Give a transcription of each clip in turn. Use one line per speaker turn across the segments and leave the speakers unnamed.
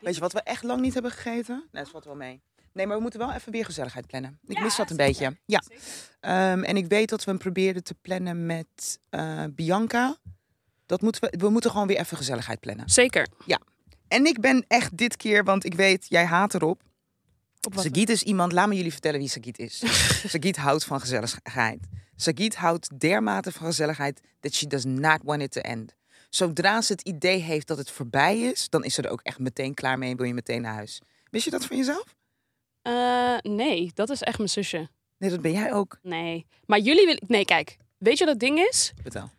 Weet je wat we echt lang niet hebben gegeten? Nee, dat valt wel mee. Nee, maar we moeten wel even weer gezelligheid plannen. Ik
Ja,
mis dat een
zeker.
beetje. Ja. Ehm, en ik weet dat we hem probeerden te plannen met eh, Bianca. Dat moeten we, we moeten gewoon weer even gezelligheid plannen.
Zeker.
En ik ben echt dit keer, want ik weet, jij haat erop. Sagiet is iemand, laat me jullie vertellen wie Sagiet is. Sagiet houdt van gezelligheid. Sagiet houdt dermate van gezelligheid that she does not want it to end. Zodra ze het idee heeft dat het voorbij is, dan is ze er ook echt meteen klaar mee en wil je meteen naar huis. Wist je dat van jezelf?
Eh, nee, dat is echt mijn zusje.
Nee, dat ben jij ook.
Nee. Maar jullie willen... Nee, kijk. Weet je wat het ding is?
Vertel.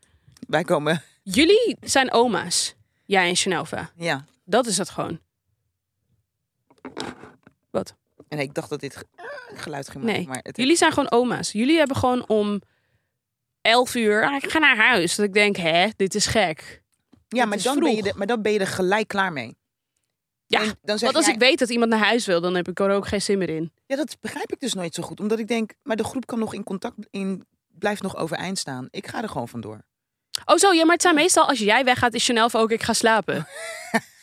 Wij komen,
Jullie zijn oma's. Jij en Genova.
ja.
Dat is het gewoon.
En ik dacht dat dit ge- eh, geluid ging maken,
Nee.
maar het
Jullie zijn gewoon oma's. Jullie hebben gewoon om elf uur... "Ah, ik ga naar huis. Dat ik denk, hè, dit is gek.
Ja,
het
maar
is
dan, ben je
vroeg.
er, maar dan ben je er gelijk klaar mee.
Ja,
En dan zeg
Want als
jij-
ik weet dat iemand naar huis wil, dan heb ik er ook geen zin meer in.
Ja, dat begrijp ik dus nooit zo goed. Omdat ik denk, maar de groep kan nog in contact, in, blijft nog overeind staan. Ik ga er gewoon vandoor.
Oh zo, ja, maar het zijn meestal als jij weggaat, is Chanelva ook ik ga slapen.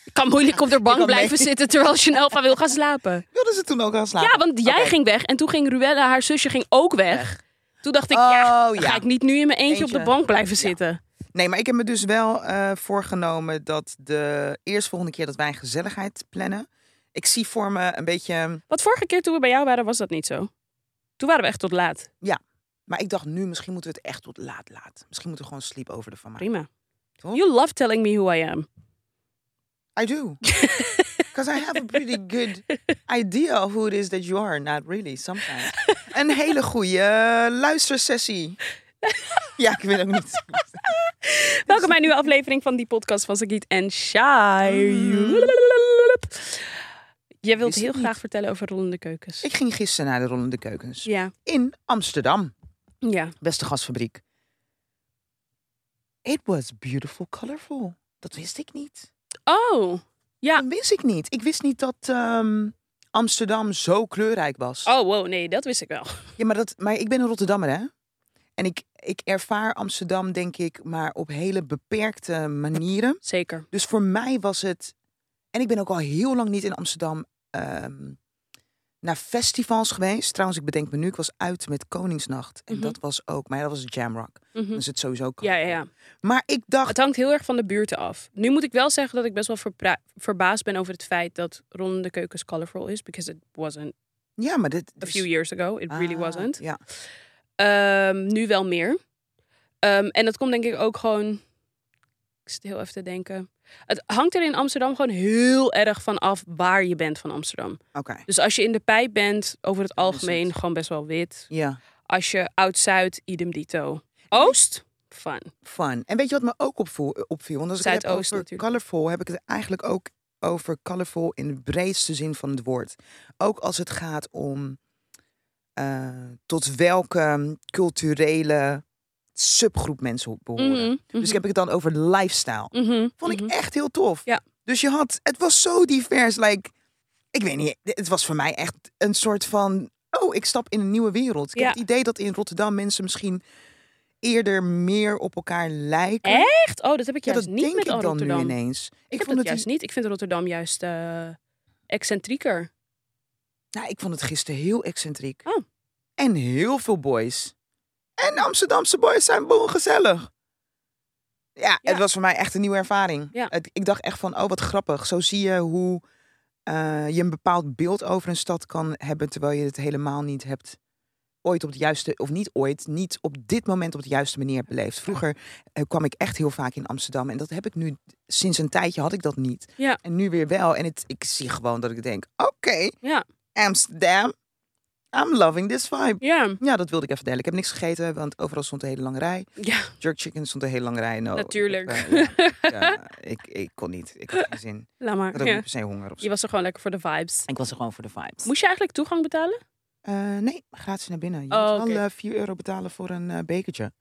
ik kan moeilijk op de bank
kan
blijven
mee.
zitten terwijl Chanelva wil gaan slapen.
Wilden ze toen ook al slapen?
Ja, want jij
Oké.
ging weg en toen ging Ruella, haar zusje, ging ook weg. Toen dacht ik, ja,
Oh,
dan
ja.
ga ik niet nu in mijn eentje, op de
Eentje.
bank blijven zitten.
Nee, maar ik heb me dus wel eh, voorgenomen dat de eerstvolgende keer dat wij gezelligheid plannen. Ik zie voor me een beetje.
Want vorige keer toen we bij jou waren, was dat niet zo. Toen waren we echt tot laat.
Maar ik dacht nu, misschien moeten we het echt tot laat laat. Misschien moeten we gewoon sleep over ervan maken.
Prima.
Toch?
You love telling me who I am.
I do. Because I have a pretty good idea of who it is that you are. Not really, sometimes. Een hele goede eh, luistersessie. ja, ik weet ook niet.
Welkom bij een nieuwe aflevering van die podcast van Sagiet en Shai. Je wilt
Mm. Wist ik
heel
niet.
graag vertellen over rollende keukens.
Ik ging gisteren naar de Rollende Keukens.
Ja,
In Amsterdam.
ja.
Beste gasfabriek. It was beautiful, colorful. Dat wist ik niet.
Oh, Ja.
Dat wist ik niet. Ik wist niet dat ehm, Amsterdam zo kleurrijk was.
oh wow, nee, dat wist ik wel.
Ja, maar, dat, maar ik ben een Rotterdammer, hè? En ik, ik ervaar Amsterdam, denk ik, maar op hele beperkte manieren.
Zeker.
Dus voor mij was het. En ik ben ook al heel lang niet in Amsterdam ehm, naar festivals geweest. Trouwens, ik bedenk me nu, ik was uit met Koningsnacht. En
Mhm.
dat was ook, maar dat was Jamrock.
Mhm.
Dus het sowieso ook.
Ja, ja, ja.
Maar ik dacht,
Het hangt heel erg van de buurten af. Nu moet ik wel zeggen dat ik best wel verbra- verbaasd ben over het feit dat Ron de Keukens colorful is. Because it wasn't
ja, maar dit.
a
dus-
few years ago. It really
Ah,
wasn't.
Ja.
Ehm, nu wel meer. Ehm, en dat komt denk ik ook gewoon... Ik zit heel even te denken. Het hangt er in Amsterdam gewoon heel erg van af waar je bent van Amsterdam.
Oké.
Dus als je in de pijp bent, over het
Dan is het-
algemeen gewoon best wel wit.
Ja.
Als je oud-zuid, idem dito. Oost? Fun.
Fun. En weet je wat me ook opvoel- eh, opviel? Want als ik het heb
Zuidoost
over
natuurlijk.
colorful, heb ik het eigenlijk ook over colorful in de breedste zin van het woord. Ook als het gaat om eh, tot welke culturele subgroep mensen behoren.
Mhm,
Dus ik heb ik het dan over lifestyle.
mhm, mhm,
Vond
mhm.
ik echt heel tof.
Ja.
Dus je had, het was zo divers. Like, ik weet niet, het was voor mij echt een soort van, oh, ik stap in een nieuwe wereld. Ik
Ja.
heb het idee dat in Rotterdam mensen misschien eerder meer op elkaar lijken.
Echt? Oh, dat heb ik
Ja,
juist
dat
niet
denk
met
ik dan
Rotterdam.
nu ineens.
Ik, heb dat juist niet. Ik vind Rotterdam juist eh, excentrieker.
Nou, ik vond het gisteren heel excentriek.
Oh.
En heel veel boys. En Amsterdamse boys zijn boel gezellig. Ja,
Ja.
het was voor mij echt een nieuwe ervaring.
Ja.
Het- ik dacht echt van, oh wat grappig. Zo zie je hoe eh, je een bepaald beeld over een stad kan hebben... terwijl je het helemaal niet hebt ooit op de juiste... of niet ooit, niet op dit moment op de juiste manier hebt beleefd. Vroeger eh, kwam ik echt heel vaak in Amsterdam. En dat heb ik nu, sinds een tijdje had ik dat niet.
Ja.
En nu weer wel. En het, ik zie gewoon dat ik denk, oké...
Ja.
Amsterdam. I'm loving this vibe.
Ja,
Ja, dat wilde ik even delen. Ik heb niks gegeten, want overal stond een hele lange rij.
ja
Jerk chicken stond een hele lange rij. No,
natuurlijk.
Ik, heb, eh, ja, ja, ik, ik kon niet. Ik had geen zin.
Laat
Ik had
maar.
ook
Ja.
niet per se honger of zo.
Je was er gewoon lekker voor de vibes.
Ik was er gewoon voor de vibes.
Moest je eigenlijk toegang betalen?
Eh, nee, gratis naar binnen. Je
Oh,
moet
oké.
wel eh, 4 euro betalen voor een eh, bekertje.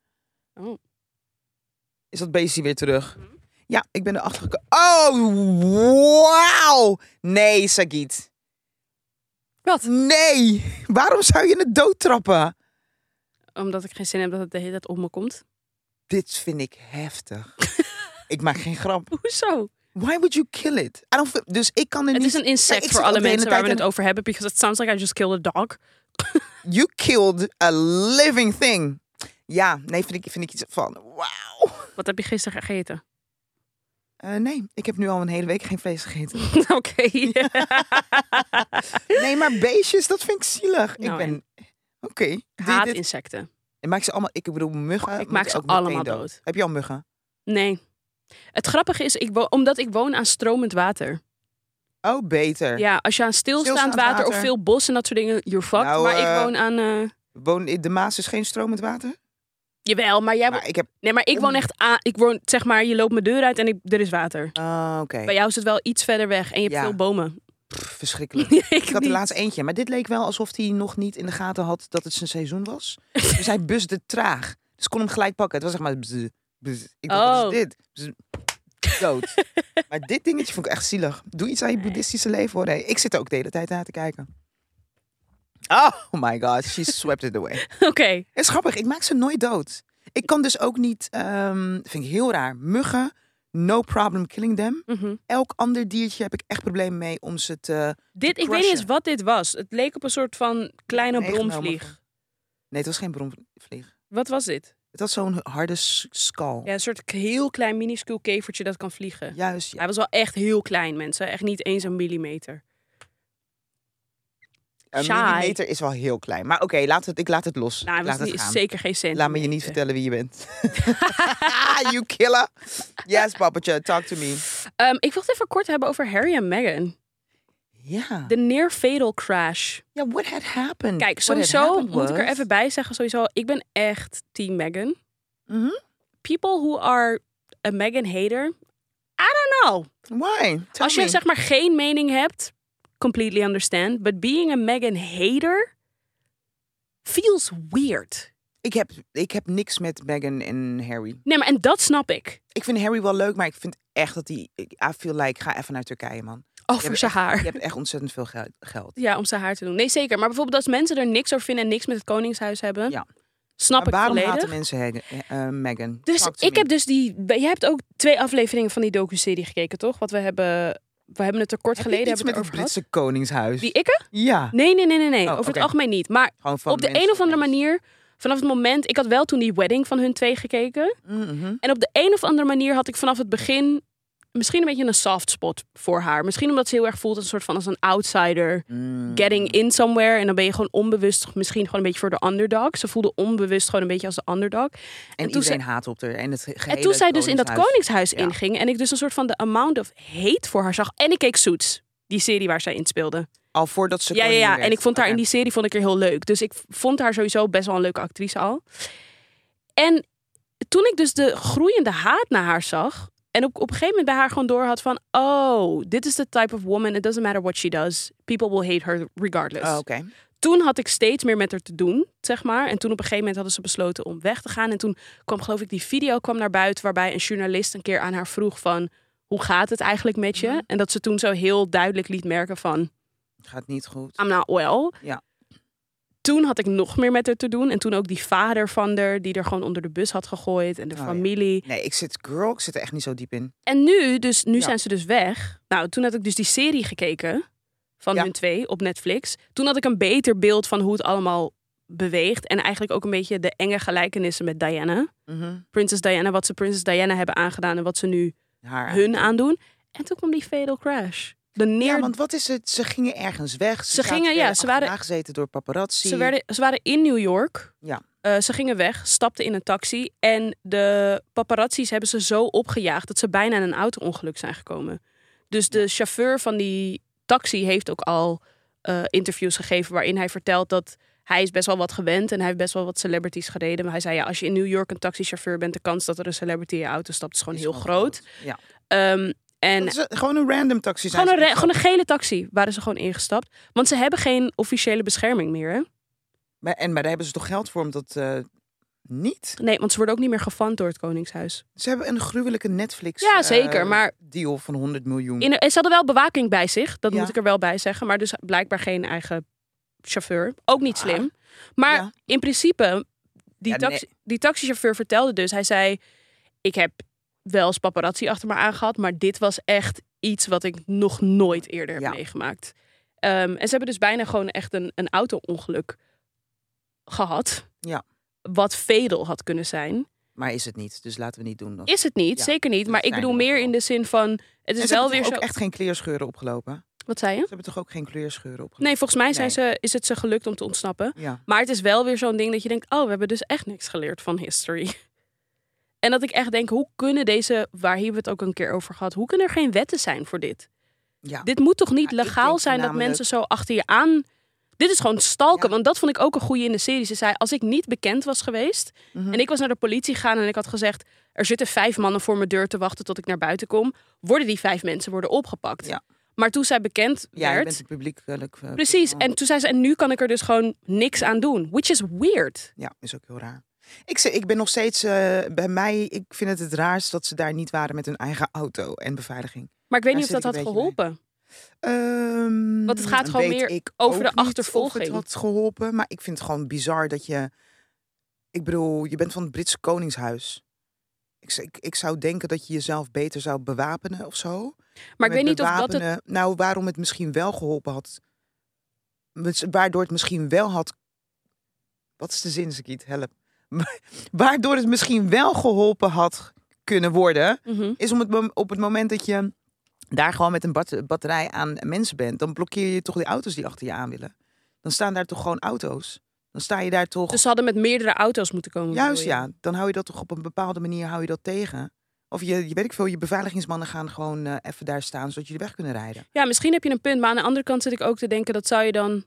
Oh. Mhm.
Is dat beestje weer terug? Ja, ik ben erachter gekomen. Oh, wauw! Nee, Sagit.
Wat?
Nee! Waarom zou je het doodtrappen?
Omdat ik geen zin heb dat het de hele tijd op me komt.
Dit vind ik heftig. ik maak geen grap.
Hoezo?
Why would you kill it? I don't feel- dus ik kan er
Het
niet...
is een
Kijk,
insect
ik
voor
zit
alle
ook de hele
mensen waar we
tijd
het over hebben. Because it sounds like I just killed a dog.
aan- You killed a living thing. Ja, nee, vind ik, vind ik iets van... Wauw.
Wat heb je gisteren gegeten?
Eh, nee, ik heb nu al een hele week geen vlees gegeten.
Oké.
Nee, maar beestjes, dat vind ik zielig.
Nou,
ik ben... Oké. die-
Haat
dit-
insecten.
Ik maak ze allemaal... Ik bedoel, muggen... moet
maak ze
ook meteen
allemaal dood.
Heb je al muggen?
Nee. Het grappige is, ik wo- omdat ik woon aan stromend water.
Oh, beter.
Ja, als je aan stilstaand,
Stilstaand
water, of
water.
veel bos en dat soort dingen, you're fucked.
Nou,
maar
eh,
ik woon aan... eh,
Woon in de Maas is geen stromend water?
jawel, maar jij... wo-
Maar ik heb...
nee, maar ik woon echt aan... Ik woon, zeg maar, je loopt mijn deur uit en ik, er is water.
Ah, oké.
Bij jou is het wel iets verder weg en je hebt
Ja.
veel bomen.
Pff, Verschrikkelijk.
ik
Ik had
niet.
er laatst eentje, maar dit leek wel alsof hij nog niet in de gaten had dat het zijn seizoen was. Dus hij busde traag. Dus ik kon hem gelijk pakken. Het was zeg maar... bzz, bzz. Ik dacht,
Oh.
wat is dit? Bzz, dood. maar dit dingetje vond ik echt zielig. Doe iets aan je boeddhistische leven, hoor. hé. Ik zit er ook de hele tijd naar te kijken. Oh my god, she swept it away.
Oké.
Het is grappig, ik maak ze nooit dood. Ik kan dus ook niet... ehm, vind ik heel raar. Muggen, no problem killing them.
Mhm.
Elk ander diertje heb ik echt problemen mee om ze te...
Dit, ik weet niet
crushen.
eens wat dit was. Het leek op een soort van kleine
Meegenomen van-
bromvlieg.
Nee, het was geen bronvlieg.
Wat was dit?
Het had zo'n harde s- skal.
Ja, een soort k- heel klein minuscuul kevertje dat kan vliegen.
Juist. ja.
Hij was wel echt heel klein, mensen. Echt niet eens een millimeter.
Een
saai.
millimeter is wel heel klein. Maar oké, laat het. ik laat het los.
Nou, hij was
laat het
niet-
gaan.
zeker geen cent.
Laat me je niet vertellen wie je bent. you killer. Yes, pappertje, talk to me.
Ehm, ik wil het even kort hebben over Harry en Meghan.
Ja.
De near fatal crash.
Ja, what had happened?
Kijk,
What had
sowieso
happened
moet ik er
was-
even bij zeggen. Sowieso, ik ben echt team Meghan.
Mhm.
People who are a Meghan hater, I don't know.
Why? Tell
Als je
me.
zeg maar geen mening hebt, completely understand. But being a Meghan hater feels weird.
Ik, heb, ik heb niks met Meghan en Harry.
Nee, maar en dat snap ik.
Ik vind Harry wel leuk, maar ik vind echt dat hij... ik- I feel like, ga even naar Turkije, man.
Oh,
Je
voor
hebt
zijn haar.
Je hebt echt ontzettend veel geld- geld.
Ja, om zijn haar te doen. Nee, zeker. Maar bijvoorbeeld als mensen er niks over vinden en niks met het koningshuis hebben,
Ja.
snap
maar
ik
waarom
volledig.
haten mensen Harry- eh, eh, Meghan?
Dus
Talk to
ik
me.
heb dus die. Jij hebt ook twee afleveringen van die docu-serie gekeken, toch? Wat we hebben. We hebben het er kort
Heb je
geleden
iets
hebben we
met
het
het
over gehad.
Britse koningshuis.
Die ikke?
Ja.
Nee, nee, nee, nee. nee.
Oh,
over
oké.
het algemeen niet. Maar
Gewoon van
op de
mensen
een of andere
thuis.
manier, vanaf het moment. Ik had wel toen die wedding van hun twee gekeken.
Mhm.
En op de een of andere manier had ik vanaf het begin. Misschien een beetje een soft spot voor haar. Misschien omdat ze heel erg voelt als een soort van als een outsider.
Mm.
getting in somewhere. En dan ben je gewoon onbewust misschien gewoon een beetje voor de underdog. Ze voelde onbewust gewoon een beetje als de underdog.
En,
toen ze-
iedereen haat op haar. En, het ge-
En
gehele
toen zij dus in dat
koningshuis.
koningshuis
Ja.
inging en ik dus een soort van de amount of hate voor haar zag. En ik keek Suits, die serie waar zij in speelde.
Al voordat ze
Ja, ja,
koningin
ja.
werd.
En ik vond haar
Oké.
in die serie vond ik haar heel leuk. Dus ik vond haar sowieso best wel een leuke actrice al. En toen ik dus de groeiende haat naar haar zag. En op, op een gegeven moment bij haar gewoon door had van... Oh, dit is the type of woman. It doesn't matter what she does. People will hate her regardless
Oh, Oké.
toen had ik steeds meer met haar te doen, zeg maar. En toen op een gegeven moment hadden ze besloten om weg te gaan. En toen kwam, geloof ik, die video kwam naar buiten... waarbij een journalist een keer aan haar vroeg van... hoe gaat het eigenlijk met je?
Mhm.
En dat ze toen zo heel duidelijk liet merken van...
Gaat niet goed.
I'm not well.
Ja.
Toen had ik nog meer met haar te doen. En toen ook die vader van haar, die er gewoon onder de bus had gegooid. En de
Oh, ja.
familie.
Nee, ik zit, girl, ik zit er echt niet zo diep in.
En nu, dus, nu
Ja.
zijn ze dus weg. Nou, toen had ik dus die serie gekeken van
Ja.
hun twee op Netflix. Toen had ik een beter beeld van hoe het allemaal beweegt. En eigenlijk ook een beetje de enge gelijkenissen met Diana.
Mhm.
Princess Diana, wat ze Princess Diana hebben aangedaan en wat ze nu
Haar.
hun aandoen. En toen kwam die fatal crash. De neer...
Ja, want wat is het? Ze gingen ergens weg. Ze,
Ze
zaten-
gingen, ja,
werden
ze waren-
achterna gezeten door paparazzi.
ze, werden, ze waren in New York.
Ja.
Eh, ze gingen weg, stapten in een taxi. En de paparazzi's hebben ze zo opgejaagd dat ze bijna in een auto-ongeluk zijn gekomen. Dus de chauffeur van die taxi heeft ook al eh, interviews gegeven waarin hij vertelt dat hij is best wel wat gewend en hij heeft best wel wat celebrities gereden. Maar hij zei ja, als je in New York een taxichauffeur bent, de kans dat er een celebrity in je auto stapt is gewoon
Is
heel
wel
groot.
Ja.
Ehm, en
Dat is, eh, gewoon een random taxi zijn.
gewoon een,
ze
re- gewoon een gele taxi waren ze gewoon ingestapt. Want ze hebben geen officiële bescherming meer. Hè?
Maar, en, maar daar hebben ze toch geld voor om dat eh, niet?
Nee, want ze worden ook niet meer gefund door het Koningshuis.
Ze hebben een gruwelijke Netflix
Ja,
eh,
zeker, maar-
deal van 100 miljoen.
In, en ze hadden wel bewaking bij zich, dat
Ja.
moet ik er wel bij zeggen. Maar dus blijkbaar geen eigen chauffeur. Ook niet
Ah.
slim. Maar
Ja.
in principe, die,
Ja,
taxi, die taxichauffeur vertelde dus, hij zei... Ik heb wel eens paparazzi achter me aangehad. Maar dit was echt iets wat ik nog nooit eerder heb
Ja.
meegemaakt. Ehm, en ze hebben dus bijna gewoon echt een, een auto-ongeluk gehad.
Ja.
Wat fedel had kunnen zijn.
Maar is het niet, dus laten we niet doen. Dat.
Is het niet,
Ja,
zeker niet.
dat
Maar ik
zijn
bedoel
er ook
meer
wel.
in de zin van... Het
En
is
ze
wel
hebben
weer
toch
zo...
ook echt geen kleerscheuren opgelopen?
Wat zei je?
Ze hebben toch ook geen kleerscheuren opgelopen?
Nee, volgens mij zijn
Nee.
ze, is het ze gelukt om te ontsnappen.
Ja.
Maar het is wel weer zo'n ding dat je denkt... Oh, we hebben dus echt niks geleerd van history. En dat ik echt denk, hoe kunnen deze... Waar hebben we het ook een keer over gehad? Hoe kunnen er geen wetten zijn voor dit?
ja.
Dit moet toch niet
Ja, ik
legaal
denk
zijn dat
voornamelijk-
mensen zo achter je aan... Dit is gewoon stalken.
Ja.
Want dat vond ik ook een goeie in de serie. Ze zei, als ik niet bekend was geweest...
Mhm.
en ik was naar de politie gegaan en ik had gezegd... er zitten vijf mannen voor mijn deur te wachten tot ik naar buiten kom... worden die vijf mensen worden opgepakt.
Ja.
Maar toen zij bekend
ja, je
werd...
bent een publiekelijk... eh,
Precies.
persoon.
En toen zei ze, en nu kan ik er dus gewoon niks aan doen. Which is weird.
Ja, is ook heel raar. Ik, ze- ik ben nog steeds eh, bij mij, ik vind het het raarst dat ze daar niet waren met hun eigen auto en beveiliging.
Maar ik weet
Daar
niet of dat
zit ik
had
een beetje
geholpen.
Ehm,
Want het gaat gewoon
weet
meer
ik
over
ook
de
niet of
achtervolging.
het had geholpen, maar ik vind het gewoon bizar dat je. Ik bedoel, je bent van het Britse Koningshuis. Ik, z- ik, ik zou denken dat je jezelf beter zou bewapenen of zo.
Maar ik
Met
weet niet of dat het...
bewapenen- Nou, waarom het misschien wel geholpen had. Met- Waardoor het misschien wel had. Wat is de zin, Sakiet? Help. Waardoor het misschien wel geholpen had kunnen worden
Mhm.
is om het mom- op het moment dat je daar gewoon met een bat- batterij aan mensen bent, dan blokkeer je toch die auto's die achter je aan willen. Dan staan daar toch gewoon auto's. Dan sta je daar toch.
Dus ze hadden met meerdere auto's moeten komen.
juist
bedoel je?
ja, dan hou je dat toch op een bepaalde manier hou je dat tegen. Of je, je weet ik veel, je beveiligingsmannen gaan gewoon eh, even daar staan zodat jullie weg kunnen rijden.
Ja, misschien heb je een punt. Maar aan de andere kant zit ik ook te denken... dat zou je dan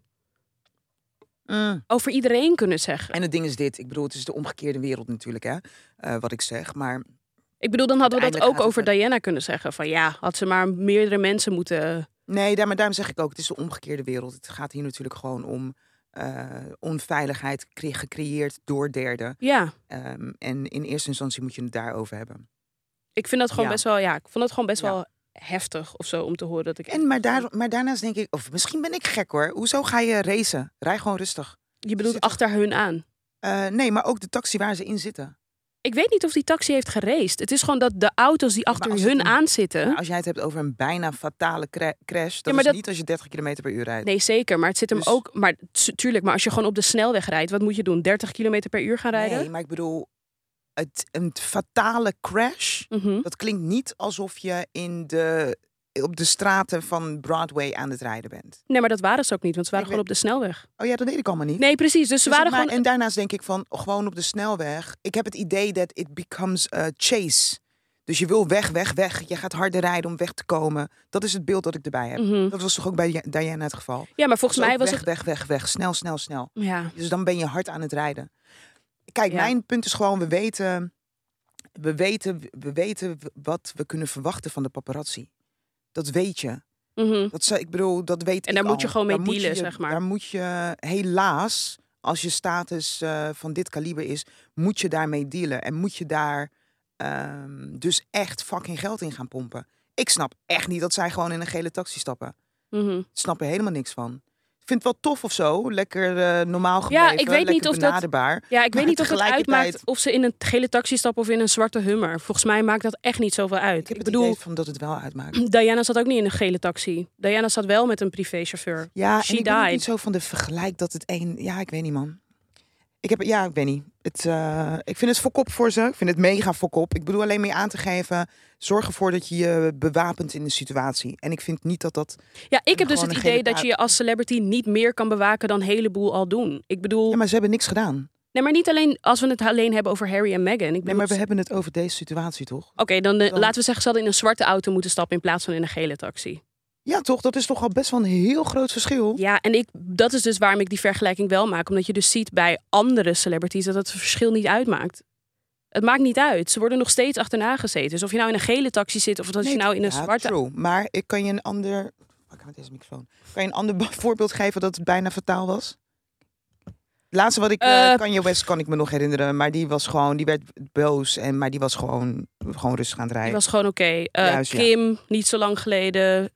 over iedereen kunnen zeggen.
En het ding is dit, ik bedoel, het is de omgekeerde wereld natuurlijk, hè, eh, wat ik zeg. Maar
Ik bedoel, dan hadden we dat ook
Uiteindelijk
over
gaat het
Diana kunnen zeggen. Van ja, had ze maar meerdere mensen moeten...
Nee, daar, maar daarom zeg ik ook, het is de omgekeerde wereld. Het gaat hier natuurlijk gewoon om eh, onveiligheid cre- gecreëerd door derden.
Ja,
Ehm, en in eerste instantie moet je het daarover hebben.
ik vind dat gewoon
Ja.
best wel... Ja, ik vond het gewoon best
Ja.
wel heftig of zo om te horen dat ik...
En maar, daar, maar daarnaast denk ik, of misschien ben ik gek hoor. Hoezo ga je racen? Rij gewoon rustig.
je bedoelt
zit toch-
achter hun aan.
Eh, nee, maar ook de taxi waar ze in zitten.
Ik weet niet of die taxi heeft geraced. Het is gewoon dat de auto's die achter
als het
hun
een-
aan zitten.
Maar als jij het hebt over een bijna fatale cra- crash, dat
maar
is
dat-
niet als je 30 km per uur rijdt.
Nee, zeker. Maar het zit hem
Dus-
ook. Maar tu- tuurlijk, maar als je gewoon op de snelweg rijdt, wat moet je doen? 30 km per uur gaan rijden?
Nee, maar ik bedoel, het, een fatale crash...
Mhm.
Dat klinkt niet alsof je in de, op de straten van Broadway aan het rijden bent.
Nee, maar dat waren ze ook niet, want ze waren
Ik
gewoon op de snelweg.
Oh ja, dat weet ik allemaal niet.
Nee, precies. Dus ze
Dus
waren
maar-
gewoon.
En daarnaast denk ik van, gewoon op de snelweg. Ik heb het idee dat it becomes a chase. Dus je wil weg, weg, weg. Je gaat harder rijden om weg te komen. Dat is het beeld dat ik erbij heb.
Mhm.
Dat was toch ook bij Di- Diana het geval?
Ja, maar volgens
Dus
mij
ook
was
weg,
het.
weg, weg, weg. Snel, snel, snel.
Ja.
Dus dan ben je hard aan het rijden. Kijk,
Ja.
mijn punt is gewoon, we weten, we, weten, we weten wat we kunnen verwachten van de paparazzi. Dat weet je.
Mhm.
Dat zou, ik bedoel, dat weet
En
ik
daar moet je
al.
gewoon mee
Daar moet je
dealen,
je-
zeg maar.
Daar moet je helaas, als je status eh, van dit kaliber is, moet je daarmee dealen. En moet je daar ehm, dus echt fucking geld in gaan pompen. Ik snap echt niet dat zij gewoon in een gele taxi stappen.
Mhm.
Ik snap er helemaal niks van. Ik vind het wel tof of zo. Lekker eh, normaal gebleven.
Ja, ik weet
lekker
niet of dat-
benaderbaar.
Ja, ik
Maar
weet niet of het
tegelijkertijd-
uitmaakt of ze in een gele taxi stappen of in een zwarte hummer. Volgens mij maakt dat echt niet zoveel uit.
Ik heb het
Ik bedoel,
idee van dat het wel uitmaakt.
Diana zat ook niet in een gele taxi. Diana zat wel met een privéchauffeur.
Ja,
She
en ik ben ook
died.
niet zo van de vergelijk dat het een... Ja, ik weet niet, man. Ik heb... Ja, ik weet niet. Het, eh, ik vind het fokop voor ze. Ik vind het mega fokop. Ik bedoel alleen mee aan te geven... zorg ervoor dat je je bewapent in de situatie. En ik vind niet dat dat...
Ja, ik heb
Gewoon
dus het
een
idee
gele
dat
kaart.
je je als celebrity niet meer kan bewaken dan een heleboel al doen. Ik bedoel,
Ja, maar ze hebben niks gedaan.
nee, maar niet alleen als we het alleen hebben over Harry en Meghan. Ik
Nee,
bedoel,
maar we hebben het over deze situatie, toch?
Oké, dan, eh,
dan-
laten we zeggen, ze hadden in een zwarte auto moeten stappen in plaats van in een gele taxi.
Ja, toch? Dat is toch al best wel een heel groot verschil.
Ja, en ik, dat is dus waarom ik die vergelijking wel maak. Omdat je dus ziet bij andere celebrities dat het verschil niet uitmaakt. Het maakt niet uit. Ze worden nog steeds achterna gezeten. Dus of je nou in een gele taxi zit of dat je
Nee,
nou in een
ja,
zwarte...
True. Maar ik kan je een ander. Pak hem met deze microfoon. Kan je een ander be- voorbeeld geven dat het bijna fataal was? Het laatste wat ik eh
Eh,
Kanye West kan ik me nog herinneren, maar die was gewoon, die werd boos en maar die was gewoon, gewoon rustig aan het
Die
rijden.
was gewoon oké. Eh,
Juist, ja.
Kim, niet zo lang geleden.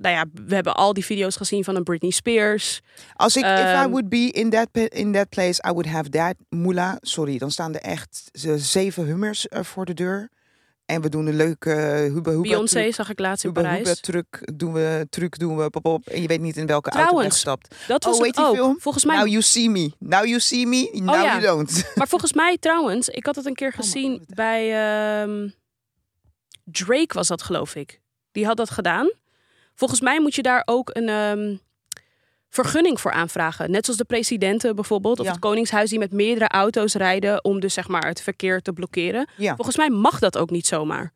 Nou ja, we hebben al die video's gezien van een Britney Spears.
Als ik, if
ehm,
I would be in that pa- in that place, I would have that mullah. Sorry, dan staan er echt ze- zeven hummers eh, voor de deur. En we doen een leuke eh, Huba Huba
Beyoncé zag ik laatst in
Huba Huba
Parijs.
truc doen we, truc doen we, pop op. En je weet niet in welke auto
Trouwens,
je stapt.
Dat was
Oh, weet
het
die
ook.
film? Nou,
Volgens mij. Oh
Now you see me. Now you see me. Now
ja.
you don't.
Maar volgens mij trouwens, ik had het een keer gezien
Oh God.
bij ehm, Drake was dat geloof ik. Die had dat gedaan. Volgens mij moet je daar ook een ehm, vergunning voor aanvragen. Net zoals de presidenten bijvoorbeeld of
Ja.
het koningshuis die met meerdere auto's rijden om dus zeg maar het verkeer te blokkeren.
Ja.
Volgens mij mag dat ook niet zomaar.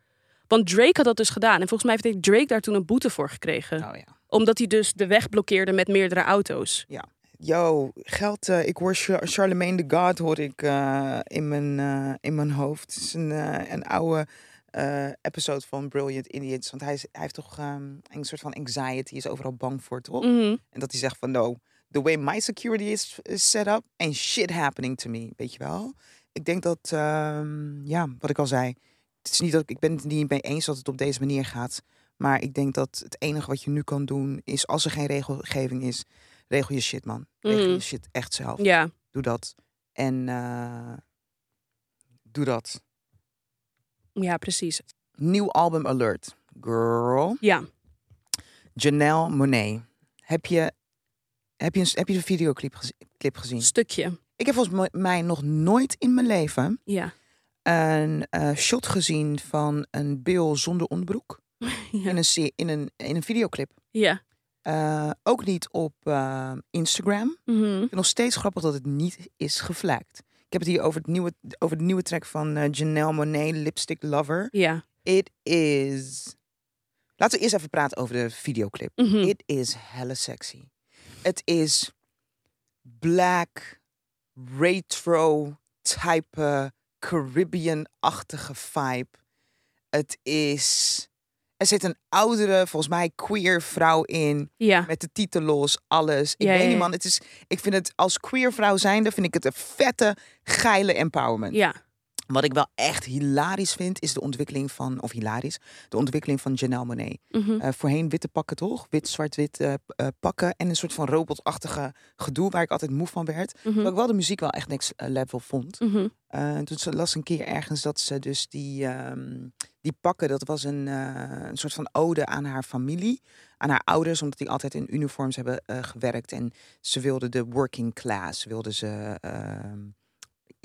Want Drake had dat dus gedaan en volgens mij heeft Drake daar toen een boete voor gekregen.
Nou ja.
Omdat hij dus de weg blokkeerde met meerdere auto's.
Yo, geld. eh, ik hoor Char- Charlemagne de God hoor ik eh, in, mijn, eh, in mijn hoofd. Het is een, eh, een oude eh, episode van Brilliant Idiots. Want hij, is, hij heeft toch ehm, een soort van anxiety. Hij is overal bang voor, toch?
Mhm.
En dat hij zegt van, no, the way my security is, is set up, ain't shit happening to me. Weet je wel? Ik denk dat, ehm, ja, wat ik al zei. Het is niet dat ik, ik ben het niet mee eens dat het op deze manier gaat. Maar ik denk dat het enige wat je nu kan doen is, als er geen regelgeving is, regel je shit, man. Regel
Mhm.
je shit echt zelf.
Ja.
Doe dat. En eh, doe dat.
ja, precies.
Nieuw album alert. Girl.
Ja.
Janelle Monet. Heb je, heb je, een, heb je de videoclip gez- clip gezien?
Stukje.
Ik heb volgens mo- mij nog nooit in mijn leven
Ja.
een eh, shot gezien van een bil zonder onderbroek
ja.
in, een, se- in, een, in een videoclip.
Ja.
Eh, ook niet op eh, Instagram. Ik
Mhm.
vind nog steeds grappig dat het niet is gevlekt. Ik heb het hier over, het nieuwe, over de nieuwe track van eh, Janelle Monet, Lipstick Lover.
Ja.
It is. Laten we eerst even praten over de videoclip.
Mhm.
It is hella sexy. Het is black, retro, type, Caribbean-achtige vibe. Het is... Er zit een oudere, volgens mij queer vrouw in.
Ja.
Met de titelos, alles. Ik
Ja,
weet
ja,
niet
ja.
man, het is, ik vind het als queer vrouw zijnde, vind ik het een vette, geile empowerment.
Ja.
Wat ik wel echt hilarisch vind, is de ontwikkeling van, of hilarisch, de ontwikkeling van Janelle Monet.
Mhm.
Eh, voorheen witte pakken toch? Wit, zwart-wit eh, p- eh, pakken. En een soort van robotachtige gedoe waar ik altijd moe van werd.
Mhm.
Terwijl ik wel de muziek wel echt next eh, level vond.
Mhm.
Eh, toen ze- las een keer ergens dat ze dus die, ehm, die pakken, dat was een, eh, een soort van ode aan haar familie. Aan haar ouders, omdat die altijd in uniforms hebben eh, gewerkt. En ze wilde de working class, wilde ze... ehm,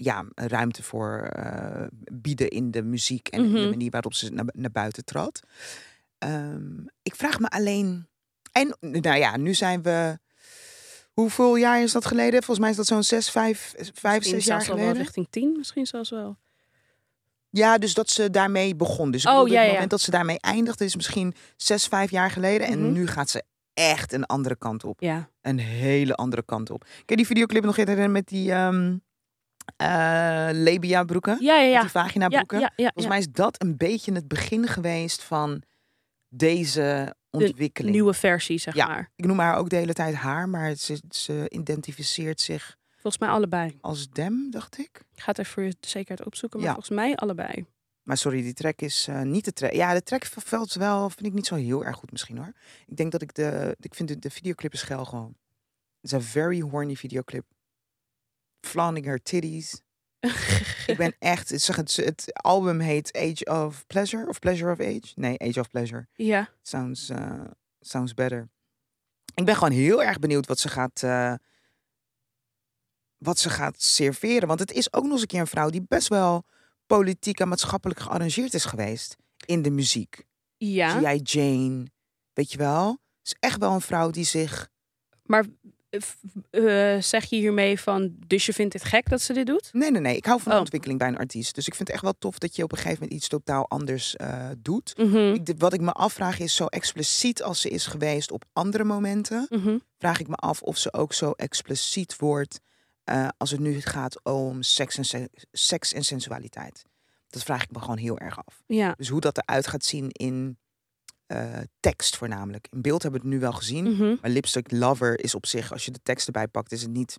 ja, ruimte voor eh, bieden in de muziek en in
Mhm.
de manier waarop ze naar, naar buiten trad. Ehm, ik vraag me alleen. En nou ja, nu zijn we. Hoeveel jaar is dat geleden? Volgens mij is dat zo'n zes, vijf, vijf
Misschien
zes jaar
zelfs al wel
geleden.
richting tien, misschien zelfs wel.
Ja, dus dat ze daarmee begon. Dus ik
Oh,
bedoel,
ja,
het
ja.
moment dat ze daarmee eindigde is misschien zes, vijf jaar geleden.
Mhm.
En nu gaat ze echt een andere kant op.
Ja.
Een hele andere kant op. Ken je die videoclip nog herinneren met die ehm labia broeken?
Ja, ja,
Met
ja.
die vagina
Ja,
broeken?
ja, ja,
Volgens
ja.
mij is dat een beetje het begin geweest van deze ontwikkeling.
Nieuwe versie, zeg
Ja.
maar.
Ik noem haar ook de hele tijd haar, maar ze, ze identificeert zich
Volgens mij allebei.
als Dem, dacht ik.
Ik ga het even voor je zekerheid opzoeken, maar
Ja.
volgens mij allebei.
Maar sorry, die track is eh, niet de track. Ja, de track valt wel, vind ik niet zo heel erg goed misschien hoor. Ik denk dat ik de, ik vind de, de videoclip is geil gewoon. Het is een very horny videoclip. Flaunting her titties. ik ben echt, het, het, het album heet Age of Pleasure of Pleasure of Age. Nee, Age of Pleasure.
Ja.
Sounds, eh, sounds better. Ik ben gewoon heel erg benieuwd wat ze gaat. eh, wat ze gaat serveren. Want het is ook nog eens een keer een vrouw die best wel politiek en maatschappelijk gearrangeerd is geweest. In de muziek.
Ja.
G.I. Jane. Weet je wel? Het is echt wel een vrouw die zich.
Maar eh, f- eh, zeg je hiermee van, dus je vindt het gek dat ze dit doet?
Nee, nee, nee. Ik hou van de
Oh.
ontwikkeling bij een artiest. Dus ik vind het echt wel tof dat je op een gegeven moment iets totaal anders eh, doet.
Mhm.
Ik, de- wat ik me afvraag is zo expliciet als ze is geweest op andere momenten.
Mhm.
vraag ik me af of ze ook zo expliciet wordt eh, als het nu gaat om seks en, se- seks en sensualiteit. Dat vraag ik me gewoon heel erg af.
Ja.
Dus hoe dat eruit gaat zien in eh, tekst voornamelijk. In beeld hebben we het nu wel gezien.
Mhm.
Maar Lipstick Lover is op zich, als je de tekst erbij pakt, is het niet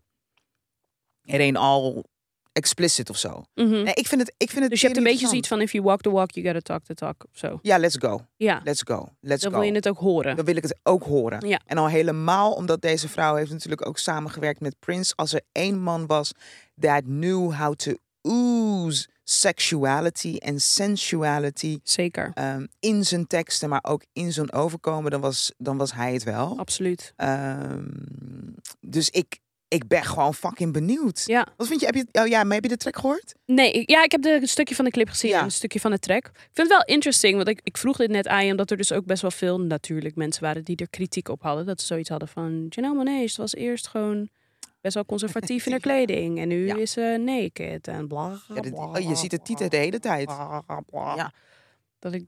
er een al explicit of zo.
Mhm.
Nee, ik vind het, ik vind het
Dus je hebt een
heel
beetje zoiets
interessant.
van, if you walk the walk, you gotta talk the talk, of zo.
Ja, let's go.
Ja.
Let's go. Let's
Dan
go.
wil je het ook horen.
dan wil ik het ook horen.
Ja.
En al helemaal omdat deze vrouw heeft natuurlijk ook samengewerkt met Prince. Als er één man was that knew how to ooze sexuality en sensuality
Zeker.
ehm, in zijn teksten, maar ook in zijn overkomen, dan was, dan was hij het wel.
Absoluut.
Ehm, dus ik, ik ben gewoon fucking benieuwd.
Ja.
Wat vind je? Heb je, oh ja, maar heb je de track gehoord?
Nee, ik- ja, ik heb de, een stukje van de clip gezien
Ja.
en een stukje van de track. Ik vind het wel interesting, want ik, ik vroeg dit net aan je... omdat er dus ook best wel veel natuurlijk mensen waren die er kritiek op hadden. Dat ze zoiets hadden van... Janelle Monáe, ze was eerst gewoon best wel conservatief in haar kleding... en nu
Ja.
is ze naked en bla, bla,
Ja, dit-
bla,
oh, je ziet het titel de hele tijd.
bla, bla, bla.
Ja.
Dat ik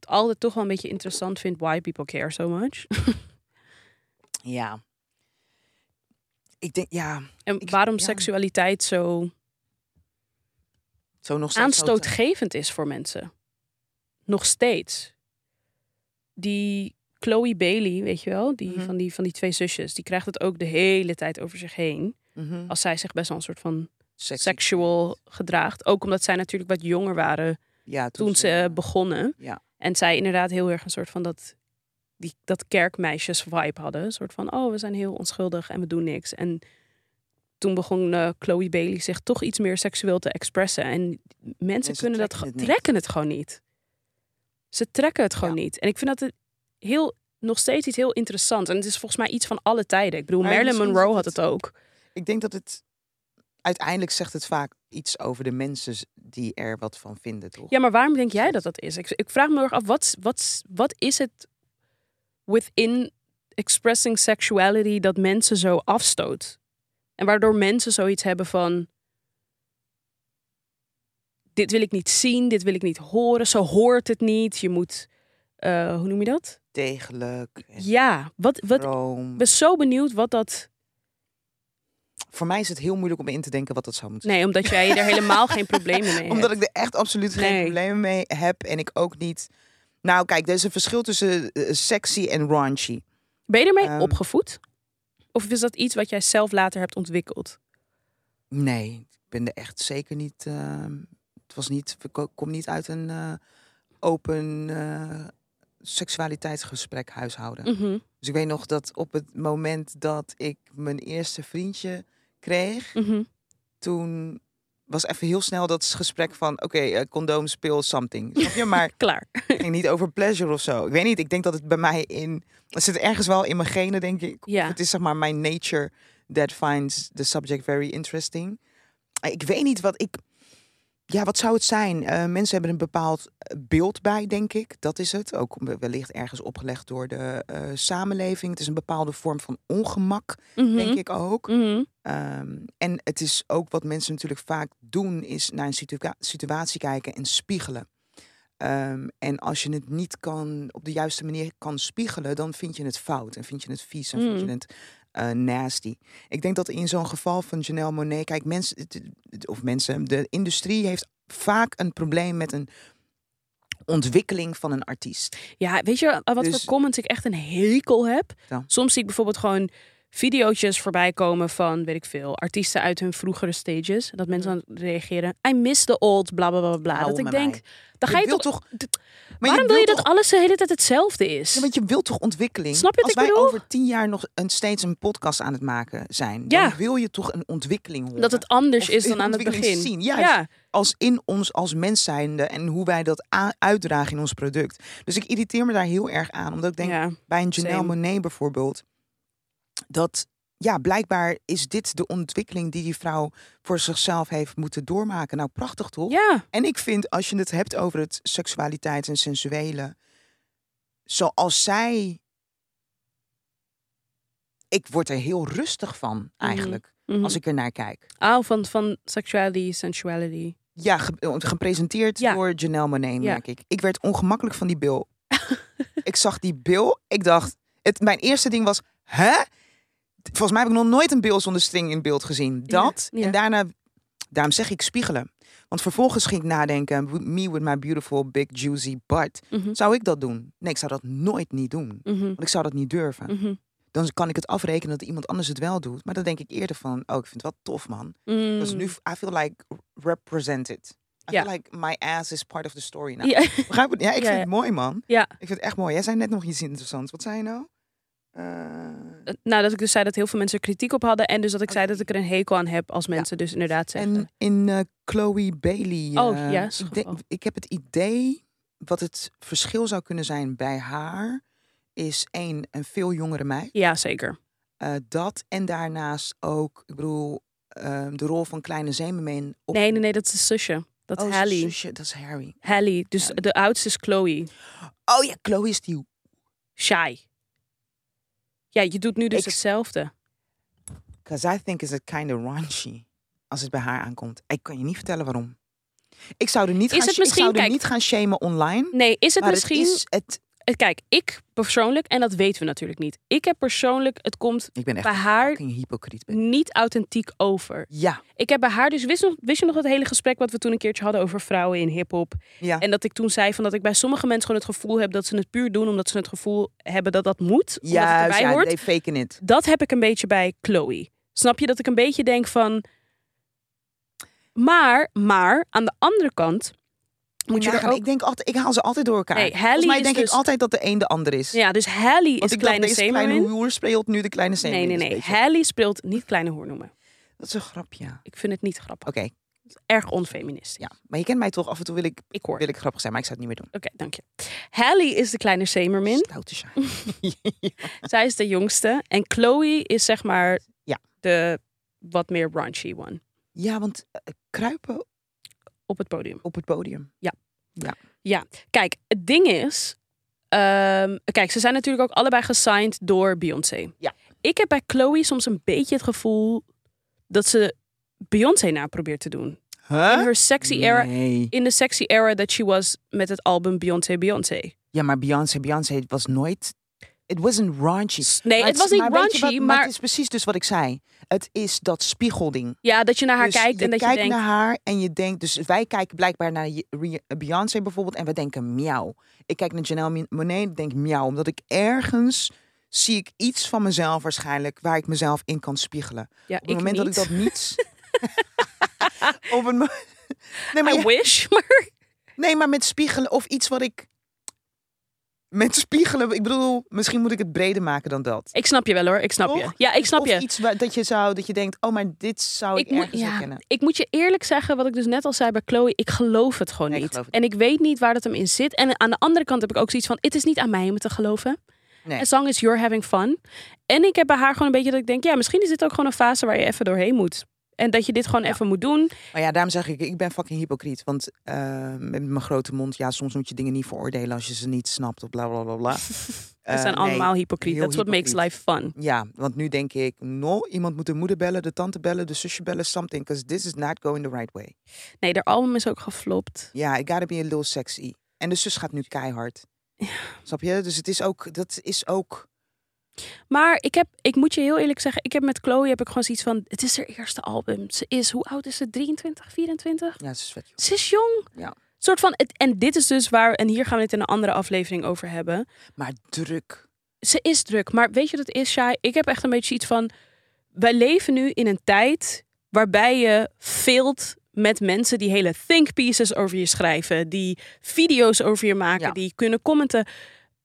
het altijd toch wel een beetje interessant vind... why people care so much.
Ja. Ik denk, ja,
en
Ik-
waarom
ja.
seksualiteit zo
zo nog steeds.
aanstootgevend is voor mensen. Nog steeds. Die Chloe Bailey, weet je wel, die,
Mhm.
van, die, van die twee zusjes, die krijgt het ook de hele tijd over zich heen.
Mhm.
Als zij zich best wel een soort van
Sexy.
sexual gedraagt. Ook omdat zij natuurlijk wat jonger waren
Ja,
toen, ze eh, begonnen.
Ja.
En zij inderdaad heel erg een soort van dat, die, dat kerkmeisjes vibe hadden. Een soort van, oh, we zijn heel onschuldig en we doen niks. En toen begon eh, Chloe Bailey zich toch iets meer seksueel te expressen. En mensen, kunnen dat
trekken
ge-
het niet.
trekken het gewoon niet. Ze trekken het gewoon
Ja.
niet. En ik vind dat het heel, nog steeds iets heel interessants. En het is volgens mij iets van alle tijden. Ik bedoel,
Maar
Marilyn
misschien
Monroe
zit
had
het-
het ook.
Ik denk dat het uiteindelijk zegt het vaak iets over de mensen die er wat van vinden, toch?
Ja, maar waarom denk jij dat dat is? Ik, ik vraag me heel erg af, wat, wat, wat is het within expressing sexuality dat mensen zo afstoot? En waardoor mensen zoiets hebben van... Dit wil ik niet zien, dit wil ik niet horen, zo hoort het niet. Je moet, eh, hoe noem je dat?
Degelijk. en
Ja, wat, wat, ik
vroom.
ben zo benieuwd wat dat...
Voor mij is het heel moeilijk om in te denken wat dat zou moeten
Nee, omdat jij er helemaal geen problemen mee
zijn. Omdat
hebt.
ik er echt absoluut geen
Nee.
problemen mee heb en ik ook niet. Nou, kijk, er is een verschil tussen eh, sexy en raunchy.
Ben je ermee
Ehm.
opgevoed? Of is dat iets wat jij zelf later hebt ontwikkeld?
Nee, ik ben er echt zeker niet. eh, het was niet. Ik ko- kom niet uit een eh, open eh, seksualiteitsgesprek huishouden.
Mhm,
Dus ik weet nog dat op het moment dat ik mijn eerste vriendje kreeg,
mhm.
toen was even heel snel dat gesprek van oké, eh, condoom speel something. Snap je? Maar
Klaar.
het ging niet over pleasure of zo. Ik weet niet. Ik denk dat het bij mij in. Het zit ergens wel in mijn genen, denk ik.
Ja.
Het is zeg maar mijn nature that finds the subject very interesting. Eh, Ik weet niet wat ik. Ja, wat zou het zijn? Eh, mensen hebben een bepaald eh, beeld bij, denk ik. Dat is het. Ook we- wellicht ergens opgelegd door de eh, samenleving. Het is een bepaalde vorm van ongemak,
Mhm.
denk ik ook. Ehm, en het is ook wat mensen natuurlijk vaak doen, is naar een situa- situatie kijken en spiegelen. Ehm, en als je het niet kan, op de juiste manier kan spiegelen, dan vind je het fout en vind je het vies en vind je
Mm.
het eh, nasty. Ik denk dat in zo'n geval van Janelle Monet, kijk, mensen, het- het- of mensen, de industrie heeft vaak een probleem met een ontwikkeling van een artiest.
Ja, weet je aan wat
Dus-
voor comments ik echt een hekel heb?
Ja.
Soms zie ik bijvoorbeeld gewoon videootjes voorbij komen van, weet ik veel, artiesten uit hun vroegere stages. En Dat mensen dan reageren, I miss the old, bla bla bla bla.
Hou
dat ik
met
denk,
mij.
dan ga je,
wilt
toch...
toch.
d-
maar
waarom wil
wilt
je
toch
dat alles de hele tijd hetzelfde is?
Ja, want je wilt toch ontwikkeling?
Snap je wat
Als
ik
wij
bedoel?
over tien jaar nog een, steeds een podcast aan het maken zijn,
Ja.
dan wil je toch een ontwikkeling horen.
dat het anders
Of
is dan aan het
ontwikkeling
begin.
zien, juist.
Ja,
Als in ons als mens zijnde en hoe wij dat a- uitdragen in ons product. Dus ik irriteer me daar heel erg aan. Omdat ik denk,
ja.
bij een Janelle
same.
Monet bijvoorbeeld, dat ja, blijkbaar is dit de ontwikkeling die die vrouw voor zichzelf heeft moeten doormaken. Nou, prachtig toch?
ja.
En ik vind, als je het hebt over het seksualiteit en sensuele, zoals zij. Ik word er heel rustig van, eigenlijk,
Mhm.
als ik er naar kijk.
Ah, van, van sexuality, sensuality.
Ja, ge- eh, gepresenteerd
Ja.
door Janelle Monáe,
Ja.
merk ik. Ik werd ongemakkelijk van die bil. ik zag die bil, ik dacht... Het, mijn eerste ding was, hè? Volgens mij heb ik nog nooit een bil zonder string in beeld gezien.
Ja,
Dat,
ja.
en daarna... Daarom zeg ik spiegelen. Want vervolgens ging ik nadenken... Me with my beautiful, big, juicy butt.
Mhm.
Zou ik dat doen? Nee, ik zou dat nooit niet doen. Want
Mhm,
ik zou dat niet durven.
mhm,
Dan kan ik het afrekenen dat iemand anders het wel doet. Maar dan denk ik eerder van... Oh, ik vind het wel tof, man.
mhm.
Because nu, I feel like represented. I
Ja.
feel like my ass is part of the story now.
Ja.
Begrijp je? Ja, ik
Ja,
vind
ja.
het mooi, man.
Ja.
Ik vind het echt mooi. Jij zei net nog iets interessants. Wat zei je nou? Eh,
Eh, Nou, dat ik dus zei dat heel veel mensen er kritiek op hadden. En dus dat ik zei dat ik er een hekel aan heb als mensen dus inderdaad zeggen.
En in eh, Chloe Bailey.
Oh,
eh,
ja, is
ik,
goed.
denk-
Oh.
ik heb het idee wat het verschil zou kunnen zijn bij haar is één een veel jongere meid.
Ja, zeker.
Eh, dat en daarnaast ook, ik bedoel, eh, de rol van kleine zeemermin. Op...
Nee, nee, nee, dat is de zusje. Dat is
Oh,
Hallie.
zusje, dat is Harry.
Hallie. Dus
Hallie.
de oudste is Chloe.
Oh ja, Chloe is die.
Shy. Ja, je doet nu dus
Ik-
hetzelfde.
Because I think is it kind of raunchy als het bij haar aankomt. Ik kan je niet vertellen waarom. Ik zou er niet,
Is
gaan,
het
sh- ik
misschien-
zou er
kijk-
niet gaan shamen online.
Nee, is het
maar
misschien...
het is het.
Eh, Kijk, ik persoonlijk, en dat weten we natuurlijk niet. Ik heb persoonlijk, het komt
Ik ben echt
bij
een
haar
fucking hypocriet. Ben.
niet authentiek over.
Ja,
Ik heb bij haar dus, wist, nog, wist je nog dat hele gesprek wat we toen een keertje hadden over vrouwen in hip-hop?
ja.
En dat ik toen zei van dat ik bij sommige mensen gewoon het gevoel heb dat ze het puur doen omdat ze het gevoel hebben dat dat moet. Omdat het
Juist,
erbij
ja,
hoort.
they faken it.
Dat heb ik een beetje bij Chloe. Snap je dat ik een beetje denk van. Maar, maar, aan de andere kant moet je
Moet
er ook.
Ik denk altijd, ik haal ze altijd door elkaar.
Nee,
Volgens
Hallie
mij
is
denk
dus-
ik altijd dat de een de ander is.
Ja, dus Hallie
Want
is
ik dacht,
kleine
deze kleine
zeemermin.
hoer speelt nu de kleine
Nee,
zeemermin.
nee,
is,
nee.
weet je.
Hallie speelt niet kleine hoer noemen.
Dat is een grapje. Oké,
Ik vind het niet grappig. Erg onfeministisch.
ja. Maar je kent mij toch, af en toe wil ik,
Ik hoor.
wil ik grappig zijn, maar ik zou het niet meer doen.
Oké, dank je. Hallie is de kleine zeemermin.
Stoute shy.
Zij is de jongste. En Chloe is zeg maar
Ja.
de wat meer raunchy one
ja, want eh, kruipen
op het podium.
op het podium.
Kijk, het ding is. ehm, kijk, ze zijn natuurlijk ook allebei gesigned door Beyoncé.
Ja.
Ik heb bij Chloe soms een beetje het gevoel dat ze Beyoncé na probeert te doen. In
Huh?
haar sexy era.
Nee.
In de sexy era that she was met het album Beyoncé Beyoncé.
Ja, maar Beyoncé, Beyoncé het was nooit... It wasn't raunchy.
Nee,
Maar
het was niet
maar weet je
raunchy,
wat-
maar
Het is precies dus wat ik zei. Het is dat spiegelding.
ja, dat je naar haar
Dus
kijkt en dat je
kijkt
denkt.
naar haar en je denkt... Dus wij kijken blijkbaar naar je- Rie- Beyoncé bijvoorbeeld en we denken miauw. Ik kijk naar Janelle Min- Monáe en denk miauw. Omdat ik ergens zie ik iets van mezelf waarschijnlijk... waar ik mezelf in kan spiegelen.
Ja,
Op
ik
het moment
niet.
dat ik dat niet... Op het mo- nee, maar,
I
ja-
wish, maar
nee, maar met spiegelen of iets wat ik... Met spiegelen, ik bedoel, misschien moet ik het breder maken dan dat.
ik snap je wel hoor. Ik snap je.
Toch?
Ja, ik snap
of
je.
iets waar, dat je zou, dat je denkt, oh, maar dit zou ik,
Ik moet-
ergens
ja,
herkennen.
Ik moet je eerlijk zeggen, wat ik dus net al zei bij Chloe, ik geloof het gewoon
Nee, ik
niet.
geloof het
En ik weet niet waar dat hem in zit. En aan de andere kant heb ik ook zoiets van, het is niet aan mij om het te geloven.
Nee.
As long as you're having fun. En ik heb bij haar gewoon een beetje dat ik denk, ja, misschien is dit ook gewoon een fase waar je even doorheen moet. En dat je dit gewoon even moet doen.
Maar ja, daarom zeg ik, ik ben fucking hypocriet. Want eh, met mijn grote mond, ja, soms moet je dingen niet veroordelen als je ze niet snapt of bla bla bla bla.
We
Eh,
zijn
nee.
allemaal hypocriet.
heel
That's what makes
hypocriet.
life fun.
Ja, want nu denk ik, no, iemand moet de moeder bellen, de tante bellen, de zusje bellen, something. Because this is not going the right way.
Nee, haar album is ook geflopt.
Ja, I gotta be a little sexy. En de zus gaat nu keihard. Snap je? Dus het is ook, dat is ook...
Maar ik, heb, ik moet je heel eerlijk zeggen, ik heb met Chloe heb ik gewoon zoiets van, het is haar eerste album. Ze is, hoe oud is ze? 23, 24?
Ja, het is vet. joh.
Ze is jong.
Ja.
Soort van, het- en dit is dus waar, en hier gaan we het in een andere aflevering over hebben.
Maar druk.
Ze is druk, maar weet je wat het is, Shai? Ik heb echt een beetje iets van, wij leven nu in een tijd waarbij je veelt met mensen die hele think pieces over je schrijven, die video's over je maken,
Ja.
die kunnen commenten.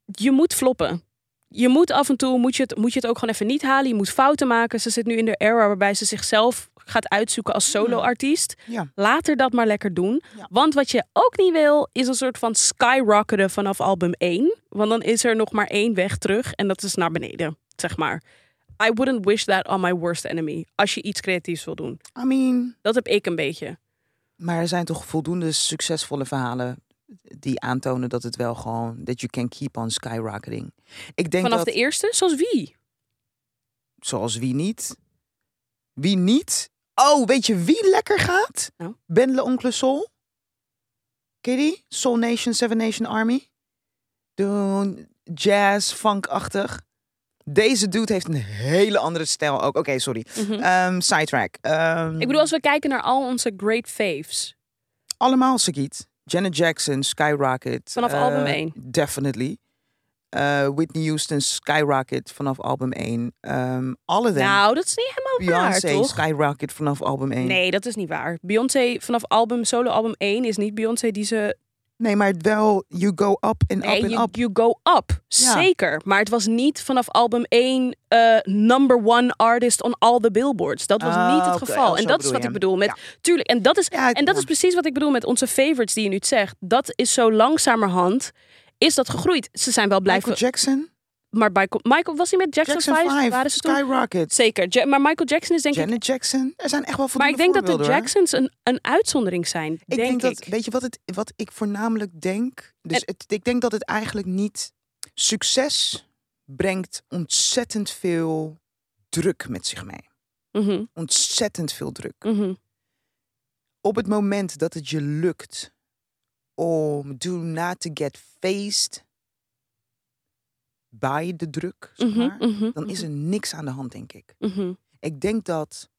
Je moet floppen. Je moet af en toe, moet je, het, moet je het ook gewoon even niet halen. Je moet fouten maken. Ze zit nu in de era waarbij ze zichzelf gaat uitzoeken als
Hmm.
solo-artiest.
Ja.
Laat haar dat maar lekker doen.
Ja.
Want wat je ook niet wil, is een soort van skyrocketen vanaf album 1. Want dan is er nog maar één weg terug en dat is naar beneden, zeg maar. I wouldn't wish that on my worst enemy. Als je iets creatiefs wil doen.
I mean...
Dat heb ik een beetje.
Maar er zijn toch voldoende succesvolle verhalen die aantonen dat het wel gewoon dat you can keep on skyrocketing. Ik denk
Vanaf
dat
de e- eerste? Zoals wie?
zoals wie niet, wie niet. Oh, weet je wie lekker gaat?
Nou.
Benle Oncle Soul. Ken je die? Soul Nation, Seven Nation Army. Doen jazz, funkachtig. Deze dude heeft een hele andere stijl ook. Oké, sorry.
Mhm.
Ehm, sidetrack. Ehm,
Ik bedoel, als we kijken naar al onze great faves.
allemaal Sagiet. Janet Jackson, Skyrocket.
Vanaf
eh,
album één.
Definitely. Eh, Whitney Houston, Skyrocket vanaf album 1. Ehm alle dan.
Nou, dat is niet helemaal waar,
Beyoncé,
toch?
Skyrocket vanaf album 1.
Nee, dat is niet waar. Beyoncé vanaf album, solo album 1 is niet Beyoncé die ze
Nee, maar wel, you go up en
Nee,
up en
you,
up.
you go up.
Ja.
Zeker. Maar het was niet vanaf album 1 eh, number one artist on all the billboards. Dat was
Ah,
niet het
oké.
geval.
Oh,
en
zo
dat
bedoel
is wat
je
ik
hem.
bedoel met...
Ja.
Tuurlijk. En dat, is,
Ja, ik-
en dat is
ja.
precies wat ik bedoel met onze favorites die je nu zegt. Dat is zo langzamerhand... Is dat gegroeid? Ze zijn wel blijven...
Michael Jackson,
maar Michael, Michael was hij met Jackson,
Jackson
5?
5,
Waren ze toen?
Skyrocket,
Zeker. Ja- maar Michael Jackson is denk ik...
Janet Jackson. Er zijn echt wel
Maar
voldoende
ik denk dat de
voorbeelden, hoor.
Jacksons een, een uitzondering zijn.
Ik
denk,
denk, dat,
ik.
weet je wat, het, wat ik voornamelijk denk? Dus
En-
het, ik denk dat het eigenlijk niet. Succes brengt ontzettend veel druk met zich mee.
Mhm,
Ontzettend veel druk.
mhm.
Op het moment dat het je lukt om do not to get faced by de druk, zeg
Mhm,
maar,
mhm,
dan is er niks aan de hand, denk ik.
mhm.
Ik denk dat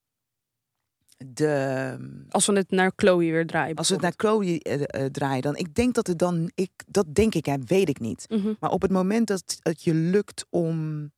de
Als we het naar Chloe weer draaien.
Als we het
bijvoorbeeld.
naar Chloe eh, eh, draaien, dan ik denk dat het dan ik dat denk ik, hè, weet ik niet.
Mhm.
Maar op het moment dat het je lukt om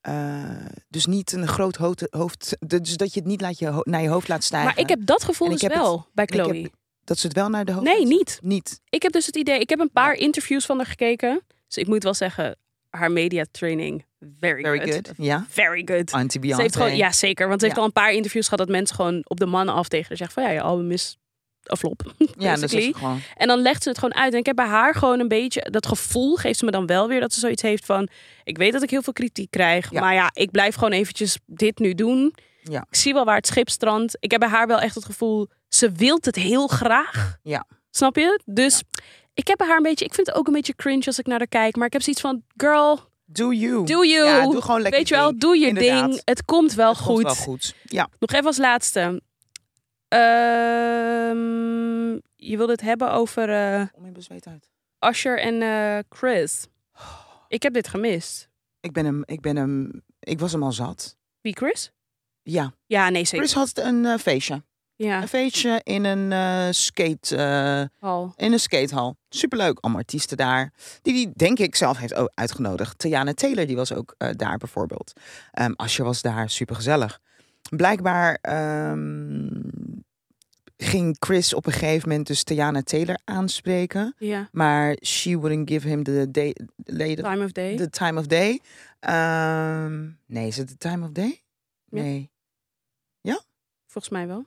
eh, dus niet een groot hoofd, hoofd dus dat je het niet laat je, ho- naar je hoofd laat stijgen.
Maar ik heb dat gevoel
eh, En
dus
ik heb het-
wel bij
en ik heb
Chloe.
dat ze het wel naar de hoofd.
Nee,
laat-
niet.
Niet.
Ik heb dus het idee, ik heb een paar interviews van haar gekeken. Dus ik moet wel zeggen, haar media training, very,
Very
good.
good. Ja.
Very good.
Anti
Ze
Beyoncé.
heeft gewoon, ja, zeker. Want ze heeft
Ja.
al een paar interviews gehad dat mensen gewoon op de mannen af tegen haar zeggen van ja, je album is een flop.
ja, dat
basically.
is dus gewoon.
En dan legt ze het gewoon uit. En ik heb bij haar gewoon een beetje dat gevoel, geeft ze me dan wel weer dat ze zoiets heeft van: ik weet dat ik heel veel kritiek krijg,
Ja.
maar ja, ik blijf gewoon eventjes dit nu doen.
Ja.
Ik zie wel waar het schip strandt. Ik heb bij haar wel echt het gevoel, ze wilt het heel graag.
Ja.
Snap je? Dus ik heb bij haar een beetje, ik vind het ook een beetje cringe als ik naar haar kijk, maar ik heb zoiets van: girl,
Do you.
do you.
Ja, doe gewoon lekker.
weet je wel,
ding.
doe je
Inderdaad.
ding. Het komt wel
Het
goed.
komt wel goed. Ja.
Nog even als laatste. Ehm, je wilde het hebben over. eh,
Om in bezweet uit.
Asher en eh, Chris. Ik heb dit gemist.
Ik ben hem, ik ben hem, ik was hem al zat.
Wie, Chris?
Ja.
Ja, nee, zeker.
Chris had een eh, feestje.
Ja,
Een feestje in een, eh, skate, eh,
al.
in een skatehal. Superleuk, allemaal artiesten daar. Die die denk ik zelf heeft ook uitgenodigd. Tiana Taylor die was ook eh, daar bijvoorbeeld. Ehm Asje was daar, supergezellig. Blijkbaar ehm, ging Chris op een gegeven moment dus Tiana Taylor aanspreken.
Ja,
Maar she wouldn't give him the, day, the,
time of day.
the time of day. Ehm, nee, is het the time of day?
Ja.
Nee.
Volgens mij wel.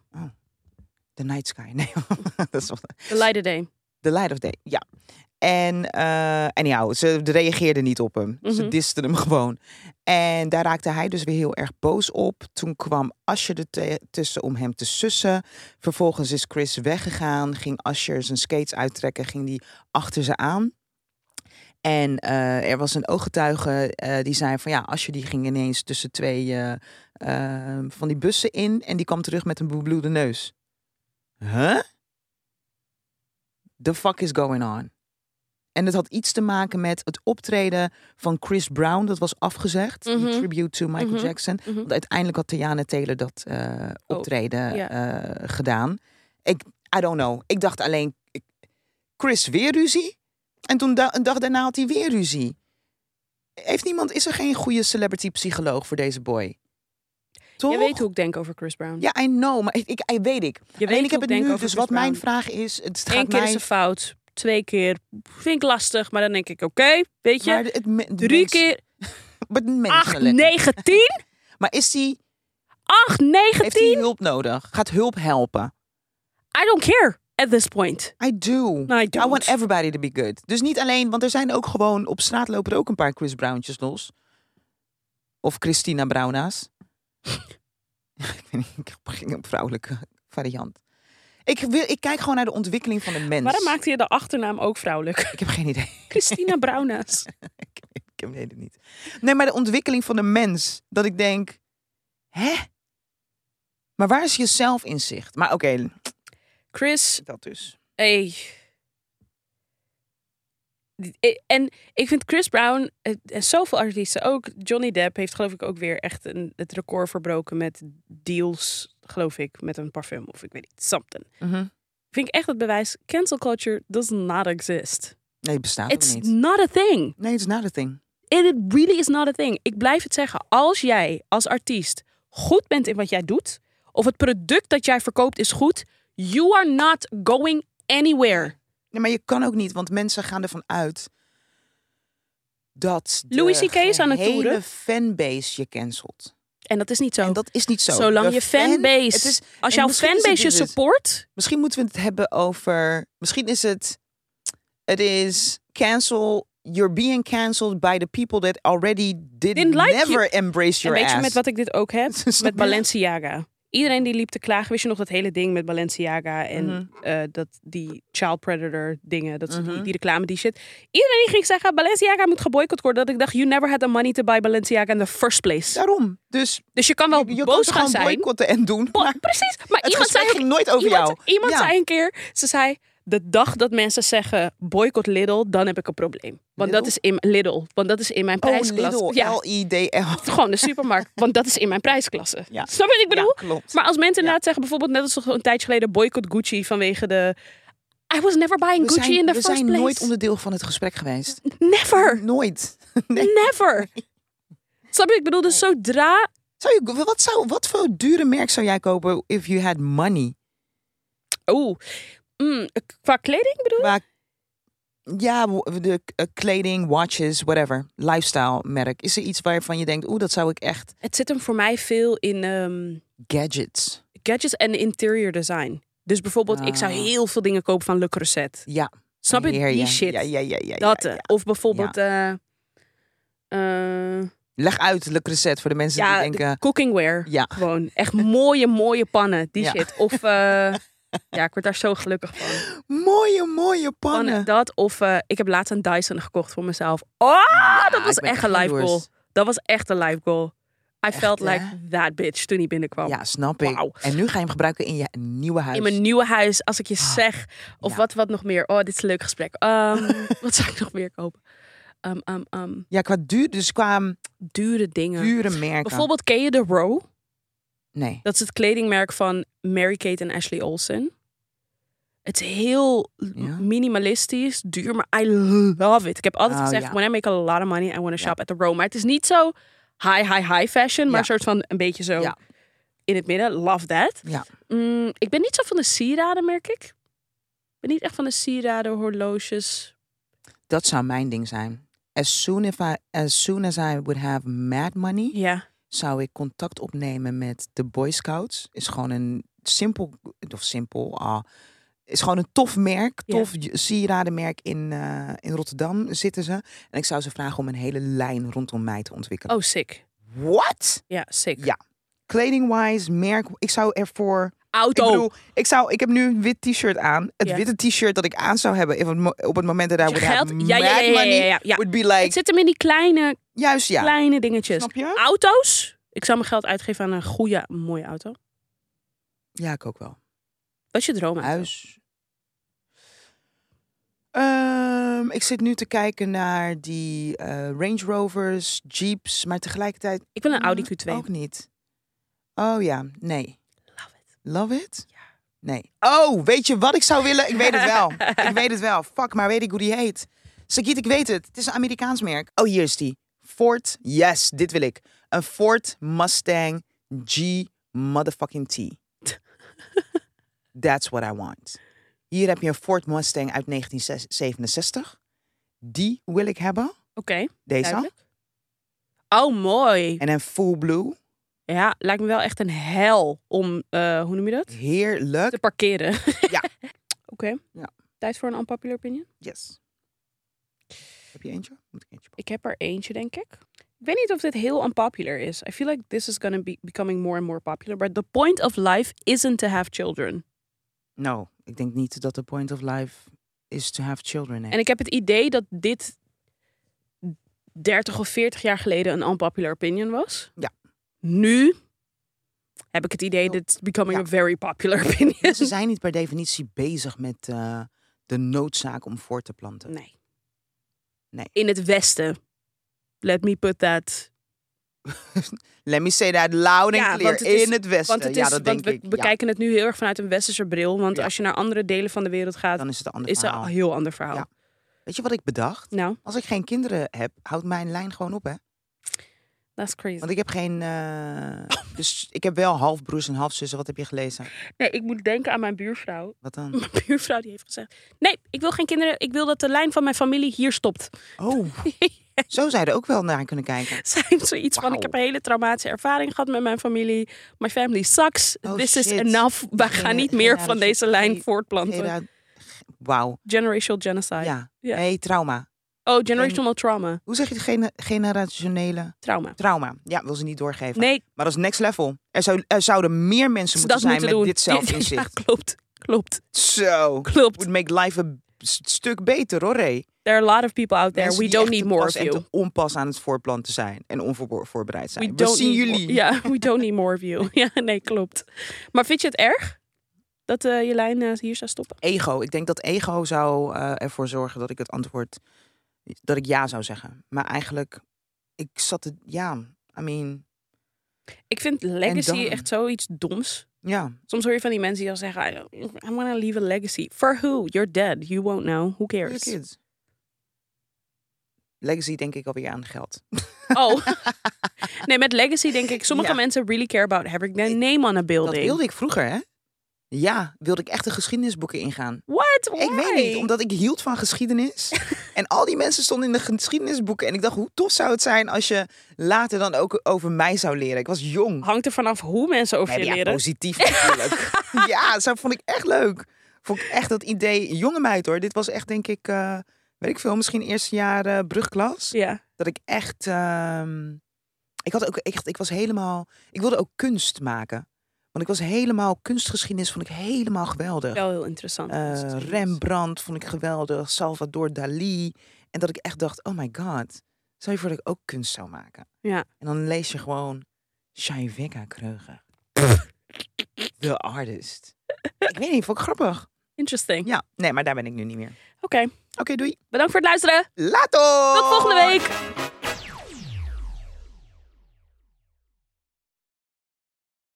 The night sky. Nee, dat is wel...
The light of day.
The Light of Day, ja. En eh anyhow, ze reageerde niet op hem.
Mhm.
Ze disten hem gewoon. En daar raakte hij dus weer heel erg boos op. Toen kwam Asher er te- tussen om hem te sussen. Vervolgens is Chris weggegaan. Ging Asher zijn skates uittrekken. Ging die achter ze aan. En eh, er was een ooggetuige eh, die zei van ja, Asher die ging ineens tussen twee eh, eh, van die bussen in. En die kwam terug met een bebloede neus. Huh? the fuck is going on? En het had iets te maken met het optreden van Chris Brown. Dat was afgezegd. die
Mhm.
tribute to Michael
Mhm.
Jackson.
Mhm. Oh,
Want uiteindelijk had Tiana Taylor dat eh, optreden
ja.
eh, gedaan. Ik, I don't know. Ik dacht alleen, ik- Chris weer ruzie. En toen da- een dag daarna had hij weer ruzie. Heeft niemand, is er geen goede celebrity psycholoog voor deze boy? Toch?
Je weet hoe ik denk over Chris Brown.
Ja, I know. Maar ik, ik, I- weet ik.
Je
alleen
weet
ik
hoe
heb het
denk
nu.
over
Dus
Chris
wat mijn
Brown.
vraag is, het gaat
Eén keer
mij...
is een fout. Twee keer vind ik lastig, maar dan denk ik, oké, weet je.
Maar het me- de
Drie
mens-
keer
Maar de mensen
acht,
lekker.
negen, tien.
Maar is die,
Acht, negen,
heeft hij
tien.
hulp nodig? Gaat hulp helpen?
I don't care at this point.
I do.
No, I don't.
want everybody to be good. Dus niet alleen, want er zijn ook gewoon op straat lopen er ook een paar Chris Browntjes los. Of Christina Browna's. ik weet niet, ik begin een vrouwelijke variant. Ik, wil, ik kijk gewoon naar de ontwikkeling van de mens.
Waarom maakte je de achternaam ook vrouwelijk?
Ik heb geen idee.
Christina Brownaas.
ik, ik heb het niet. Nee, maar de ontwikkeling van de mens. Dat ik denk, hè? Maar waar is je zelfinzicht? Maar oké,
Chris
dat dus.
Hey. I- eh, En ik vind Chris Brown eh, en zoveel artiesten ook. Johnny Depp heeft geloof ik ook weer echt een, het record verbroken met deals, geloof ik, met een parfum of ik weet niet, something. Vind ik echt het bewijs, cancel culture does not exist.
Nee, het bestaat
It's
ook niet.
not a thing.
Nee, het is not a thing.
It really is not a thing. Ik blijf het zeggen. Als jij als artiest goed bent in wat jij doet, of het product dat jij verkoopt is goed, you are not going anywhere.
Nee, maar je kan ook niet, want mensen gaan ervan uit dat de
Louis CK is aan het
gehele
toeren.
fanbase je cancelt.
En dat is niet zo.
En dat is niet zo.
Zolang
De
je
fan-
fanbase-
het is,
Als
en misschien
jouw
is het
fanbase je
dus het.
support,
misschien moeten we het hebben over. Misschien is het. Het is cancel. You're being cancelled by the people that already did
Didn't like
never embrace
en
your
weet
ass.
je met wat ik dit ook heb?
Snap
Met
je?
Balenciaga. Iedereen die liep te klagen, wist je nog dat hele ding met Balenciaga en
Mhm.
eh, dat die child predator dingen, dat ze die,
Mhm.
die reclame, die shit. Iedereen die ging zeggen, Balenciaga moet geboycott worden. Dat ik dacht, you never had the money to buy Balenciaga in the first place.
Daarom. Dus
Dus je kan wel
je kan
boos
het
gaan
gewoon
zijn.
boycotten en doen.
Bo-
Maar
Precies. Maar
het
iemand zei
gesprek
ook
ging nooit over
iemand,
jou.
Iemand
Ja.
zei een keer, ze zei, de dag dat mensen zeggen boycott Lidl, dan heb ik een probleem. Want dat is
Lidl?
in Lidl, want dat is in mijn
Oh,
prijsklasse.
Lidl,
ja,
L-I-D-L.
gewoon de supermarkt, want dat is in mijn prijsklasse.
Ja.
Snap je wat ik
Ja,
bedoel?
klopt.
Maar als mensen inderdaad zeggen, bijvoorbeeld net als een tijdje geleden boycott Gucci vanwege de I was never buying
we
Gucci
zijn,
in the
we
first
zijn
place.
nooit onderdeel van het gesprek geweest.
Never,
Nooit. Nee.
never. Snap je? Ik bedoel, dus zodra
Zou je, wat, zou, wat voor dure merk zou jij kopen if you had money?
Oeh. Mm, qua kleding bedoel je?
Maar, ja, w- de eh, kleding, watches, whatever. Lifestyle merk. Is er iets waarvan je denkt, oeh, dat zou ik echt...
Het zit hem voor mij veel in ehm,
Gadgets.
gadgets en interior design. Dus bijvoorbeeld, ik zou
Ah.
heel veel dingen kopen van Le Creuset.
Ja.
Snap je?
heer
Die shit.
Ja, ja, ja, ja, ja,
dat.
ja.
eh. Of bijvoorbeeld... eh, eh,
Leg uit, Le Creuset, voor de mensen
ja,
die denken...
cookingware.
Ja.
Gewoon echt mooie, mooie pannen. Die
Ja.
shit. Of... eh, ja, ik word daar zo gelukkig van.
Oh, Mooie, mooie
Van
pannen.
dat of eh, ik heb laatst een Dyson gekocht voor mezelf. Oh, dat was
ik ben
echt een
echt
life goal.
jaloers.
Dat was echt een life goal. I felt
hè?
like that bitch toen hij binnenkwam.
Ja, snap ik.
Wauw.
En nu ga je hem gebruiken in je nieuwe huis. Ah,
In mijn nieuwe huis, als ik je zeg. Of
ja.
wat, wat nog meer. Oh, dit is een leuk gesprek. Ehm, wat zou ik nog meer kopen? Ehm, ehm, ehm,
Ja, qua duur, dus qua mm,
dure dingen.
dure merken.
Bijvoorbeeld ken je de Row?
Nee.
Dat is het kledingmerk van Mary-Kate en Ashley Olsen. Het is heel
Ja.
minimalistisch, duur, maar I love it. Ik heb altijd
Oh,
gezegd,
ja.
when I make a lot of money, I want to
Ja.
shop at the Row. Maar het is niet zo high, high, high fashion, maar
Ja.
een soort van een beetje zo
Ja.
in het midden. Love that.
Ja.
Mm, ik ben niet zo van de sieraden, merk ik. Ik ben niet echt van de sieraden, horloges.
Dat zou mijn ding zijn. As soon, if I, as soon as I would have mad money,
Ja.
zou ik contact opnemen met de Boy Scouts. Is gewoon een simpel, of simpel, ah, is gewoon een tof merk,
Ja.
tof j- sieradenmerk in, eh, in Rotterdam zitten ze. En ik zou ze vragen om een hele lijn rondom mij te ontwikkelen.
Oh, sick.
What?
Ja, sick.
Ja. Kleding-wise, merk, ik zou ervoor
Auto.
ik bedoel, ik, zou, ik heb nu een wit t-shirt aan. Het
Ja.
witte t-shirt dat ik aan zou hebben if het mo- op het moment dat daar
je
would
geld.
have
Ja, ja, ja,
mad
ja, ja,
money,
ja, ja.
would be
het
like,
zit hem in die kleine,
juist ja.
kleine dingetjes.
Snap je?
Auto's. Ik zou mijn geld uitgeven aan een goede, mooie auto.
Ja, ik ook wel.
Wat is je droom?
Huis. Ehm, ik zit nu te kijken naar die eh, Range Rovers, Jeeps, maar tegelijkertijd
Ik wil een Audi
mm,
Q2.
ook niet. Oh ja, nee.
Love it.
Love it? Nee. Oh, weet je wat ik zou willen? Ik weet het wel. ik weet het wel. Fuck, maar weet ik hoe die heet? Sagiet, ik weet het. Het is een Amerikaans merk. Oh, hier is die. Ford. Yes, dit wil ik. Een Ford Mustang G motherfucking T. That's what I want. Hier heb je een Ford Mustang uit 1967. Die wil ik hebben.
Oké,
Deze.
duidelijk. Oh, mooi.
En een full blue.
Ja, lijkt me wel echt een hel om, eh, hoe noem je dat? Te
Heerlijk.
parkeren.
Ja.
Oké.
Ja.
Tijd voor een unpopular opinion?
Yes. Heb je eentje? Moet ik eentje pakken?
Ik heb er eentje, denk ik. Ik weet niet of dit heel unpopular is. I feel like this is gonna be becoming more and more popular. But the point of life isn't to have children.
Nou, ik denk niet dat de point of life is to have children. hè.
En ik heb het idee dat dit 30 of 40 jaar geleden een unpopular opinion was.
Ja. Oh.
Nu heb ik het idee dat it's becoming
Ja.
a very popular opinion.
Ze zijn niet per definitie bezig met eh, de noodzaak om voor te planten.
Nee.
Nee.
In het Westen. Let me put that.
Let me say that loud and
Ja,
clear.
want het is-
in het westen.
Want, het
ja,
is,
dat
want
denk
we
ik. Ja,
bekijken het nu heel erg vanuit een westerse bril. Want
Ja.
als je naar andere delen van de wereld gaat,
dan is het een ander
is dat
verhaal.
een heel ander verhaal.
Ja. Weet je wat ik bedacht?
Nou,
Als ik geen kinderen heb, houdt mijn lijn gewoon op, hè?
That's crazy.
Want ik heb geen. eh, dus ik heb wel halfbroers en halfzussen. Wat heb je gelezen?
Nee, ik moet denken aan mijn buurvrouw.
Wat dan?
Mijn buurvrouw die heeft gezegd... Nee, ik wil geen kinderen. Ik wil dat de lijn van mijn familie hier stopt.
Oh, zo zou je er ook wel naar kunnen kijken.
Zijn zoiets van...
Wauw.
Ik heb een hele traumatische ervaring gehad met mijn familie. My family sucks.
Oh,
This is
shit.
enough. Wij gaan
Genera-
niet meer van
generatie-
deze lijn
nee,
voortplanten.
Genera- Wauw.
Generational genocide.
Ja.
Ja.
Nee, trauma.
Oh, generational trauma.
Hoe zeg je het? Gene- generationele
Trauma.
trauma? Ja, wil ze niet doorgeven.
Nee,
Maar dat is next level. Er, zou, er zouden meer mensen
ze
moeten
dat
zijn
moeten
met
doen.
dit zelfinzicht.
Ja, klopt. Klopt.
Zo.
Klopt.
Would make life a s- stuk beter hoor, hé.
There are a lot of people out there.
Mensen
We
die
don't
echt
need
te
more
pas
of
en
you.
te onpas aan het voorplanten zijn. En onvoorbereid zijn.
We
We,
don't
zien
need more-
jullie.
Ja, we don't need more of you. Ja, nee, klopt. Maar vind je het erg dat eh, je lijn eh, hier zou stoppen?
Ego. Ik denk dat ego zou eh, ervoor zorgen dat ik het antwoord... Dat ik ja zou zeggen. Maar eigenlijk... Ik zat het... Ja, I mean...
Ik vind legacy
dan?
echt zoiets doms.
Ja,
Soms hoor je van die mensen die dan zeggen, I- I'm gonna leave a legacy. For who? You're dead. You won't know. Who
voor je
cares?
kids. Legacy denk ik alweer aan geld.
Oh. nee, met legacy denk ik, sommige
Ja.
mensen really care about having their name on a
Dat
building.
wilde ik vroeger, hè? Ja, wilde ik echt de geschiedenisboeken ingaan.
What?
Ik weet
Why?
niet, omdat ik hield van geschiedenis. en al die mensen stonden in de geschiedenisboeken. En ik dacht, hoe tof zou het zijn als je later dan ook over mij zou leren. Ik was jong.
Hangt er vanaf hoe mensen over
Nee,
je
maar ja,
leren.
positief natuurlijk. ja, zo vond ik echt leuk. Vond ik echt dat idee. Jonge meid hoor, dit was echt denk ik, eh, weet ik veel, misschien eerste jaar eh, brugklas.
Ja.
Dat ik echt, ehm, ik had ook echt, ik was helemaal, ik wilde ook kunst maken. Want ik was helemaal, kunstgeschiedenis vond ik helemaal geweldig.
Wel heel interessant.
Eh,
Dat is-
Rembrandt vond ik geweldig. Salvador Dali. En dat ik echt dacht, oh my god. Zou je voor dat ik ook kunst zou maken?
Ja.
En dan lees je gewoon Shaiveka Kreuger. The artist. ik weet niet, vond ik grappig.
Interesting.
Ja, nee, maar daar ben ik nu niet meer.
Oké,
Oké, doei.
bedankt voor het luisteren.
Later!
Tot volgende week.